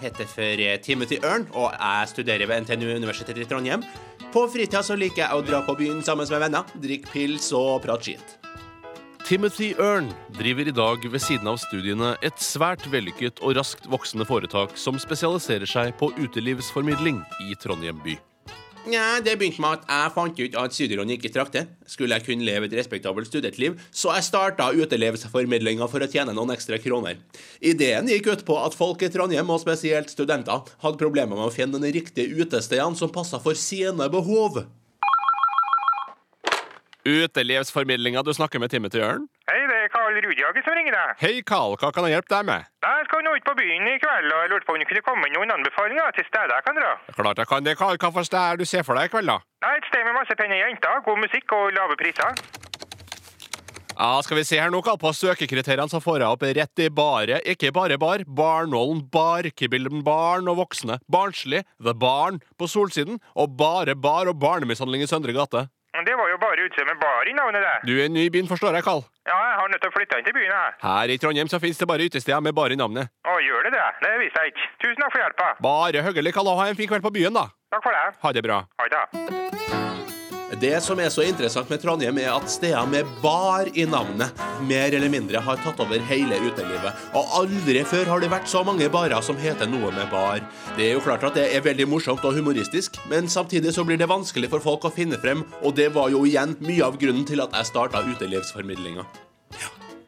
heter for eh, Time til Ørn, og jeg studerer ved NTNU Universitetet i Trondheim. På fritida så liker jeg å dra på byen sammen med venner, drikke pils og prate skit. Timothy Earn driver i dag ved siden av studiene et svært vellykket og raskt voksende foretak som spesialiserer seg på utelivsformidling i Trondheim by. Nja, det begynte med at jeg fant ut at studielånet ikke strakk til. Skulle jeg kunne leve et respektabelt studentliv, så jeg starta utelivsformidlinga for å tjene noen ekstra kroner. Ideen gikk ut på at folk i Trondheim, og spesielt studenter, hadde problemer med å finne de riktige utestedene som passa for sine behov. Utelivsformidlinga du snakker med Timothy Earn? Hei, det er Karl Rudjage som ringer deg. Hei, Karl, hva kan jeg hjelpe deg med? Jeg skal nå ut på byen i kveld, og jeg lurte på om du kunne komme med noen anbefalinger til steder jeg kan dra. Klart jeg kan det, Karl. Hva for sted er du ser for deg i kveld, da? Nei, et sted med masse pene jenter, god musikk og lave priser. Ja, skal vi se her nå, Karl. På søkekriteriene så får jeg opp rett i bare, ikke bare bar, Barnålen bar, Kibilden barn og voksne, barnslig, The Barn på Solsiden, og bare bar og barnemishandling i Søndre gate. Men Det var jo bare utse med bar i navnet det. Du er ny i byen, forstår jeg, Karl. Ja, jeg har nødt til å flytte inn til byen, jeg. Her i Trondheim så finnes det bare utesteder med bare navnet. Å, gjør det det? Det visste jeg ikke. Tusen takk for hjelpa. Bare hyggelig, Karl, og ha en fin kveld på byen, da. Takk for det. Ha det bra. Ha det. Det som er så interessant med Trondheim, er at steder med bar i navnet mer eller mindre har tatt over hele utelivet. Og aldri før har det vært så mange barer som heter noe med bar. Det er jo klart at det er veldig morsomt og humoristisk, men samtidig så blir det vanskelig for folk å finne frem, og det var jo igjen mye av grunnen til at jeg starta utelivsformidlinga.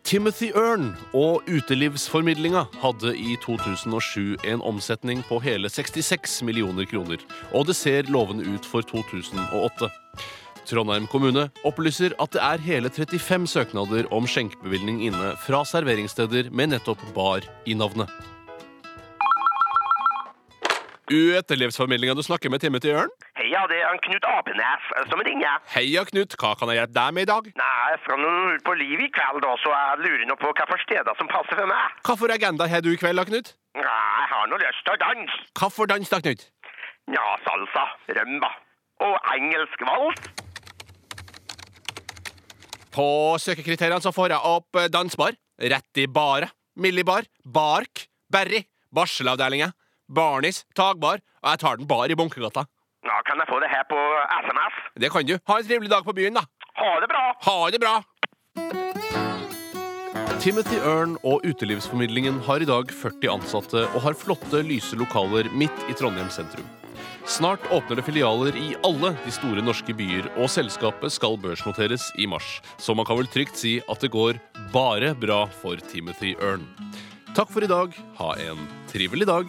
Timothy Earn og utelivsformidlinga hadde i 2007 en omsetning på hele 66 millioner kroner, og det ser lovende ut for 2008. Trondheim kommune opplyser at det er hele 35 søknader om skjenkebevilgning inne fra serveringssteder med nettopp bar i navnet. Utelivsformidlinga du snakker med Timothy Ørn? Heia, det er han Knut Apenes eh, som ringer. Heia, Knut. Hva kan jeg hjelpe deg med i dag? Nei, jeg skal nå ut på liv i kveld, da, så jeg lurer nå på hva for steder som passer for meg. Hva for agenda har du i kveld, da, Knut? Nei, jeg har nå lyst til å danse. Hva for dans, da, Knut? Ja, salsa, rømba og engelsk vals. På søkekriteriene så får jeg opp eh, dansbar, rett i bare, millibar, bark, berry, barselavdelinga, barnis, tagbar, og jeg tar den bar i bunkegata. Ja, kan jeg få det her på SMS? Det kan du. Ha en trivelig dag på byen, da. Ha det bra! Ha det bra! Timothy Earn og Utelivsformidlingen har i dag 40 ansatte og har flotte, lyse lokaler midt i Trondheim sentrum. Snart åpner det filialer i alle de store norske byer, og selskapet skal børsnoteres i mars. Så man kan vel trygt si at det går bare bra for Timothy Earn. Takk for i dag. Ha en trivelig dag.